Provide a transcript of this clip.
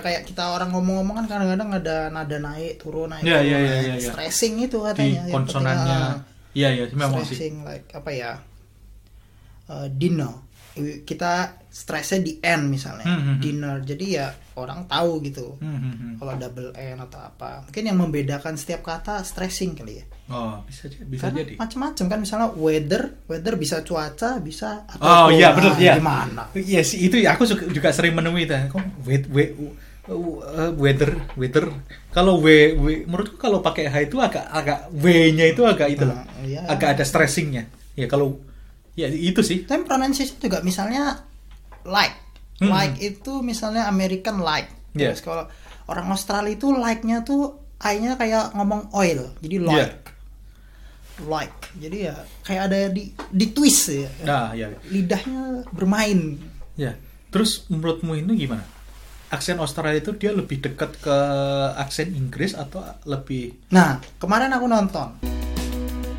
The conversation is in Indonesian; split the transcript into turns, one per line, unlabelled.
kayak kita orang ngomong-ngomong kan kadang-kadang ada nada naik turun naik
Iya,
turun,
iya, iya,
naik.
iya, iya.
stressing itu
di
katanya ya, yang
konsonannya iya iya
penting, ah,
memang sih
stressing like apa ya eh, dinner kita stressnya di N misalnya
Hmm, hmm, hmm.
dinner jadi ya orang tahu gitu
Hmm, hmm, hmm.
kalau double N atau apa mungkin yang membedakan setiap kata stressing kali ya
oh bisa jadi bisa
karena
jadi
macam-macam kan misalnya weather weather bisa cuaca bisa atau
Oh, iya,
corona.
bener, iya.
gimana
Iya sih itu ya aku suka- juga sering menemui itu. Kok wet- we- u- uh, weather weather kalau w, w menurutku kalau pakai h itu agak agak w-nya itu agak itu loh.
Hmm, iya.
Agak ada stressingnya. Ya kalau ya itu sih.
tapi pronunciation juga misalnya like
Hmm.
like itu misalnya American like
Iya.
terus kalau orang Australia itu like-nya tuh I-nya kayak ngomong oil jadi like
Iya.
like jadi ya kayak ada di di twist ya
Nah, ya.
lidahnya bermain
Ya. Terus menurutmu ini gimana? Aksen Australia itu dia lebih dekat ke aksen Inggris atau lebih
nah kemarin aku nonton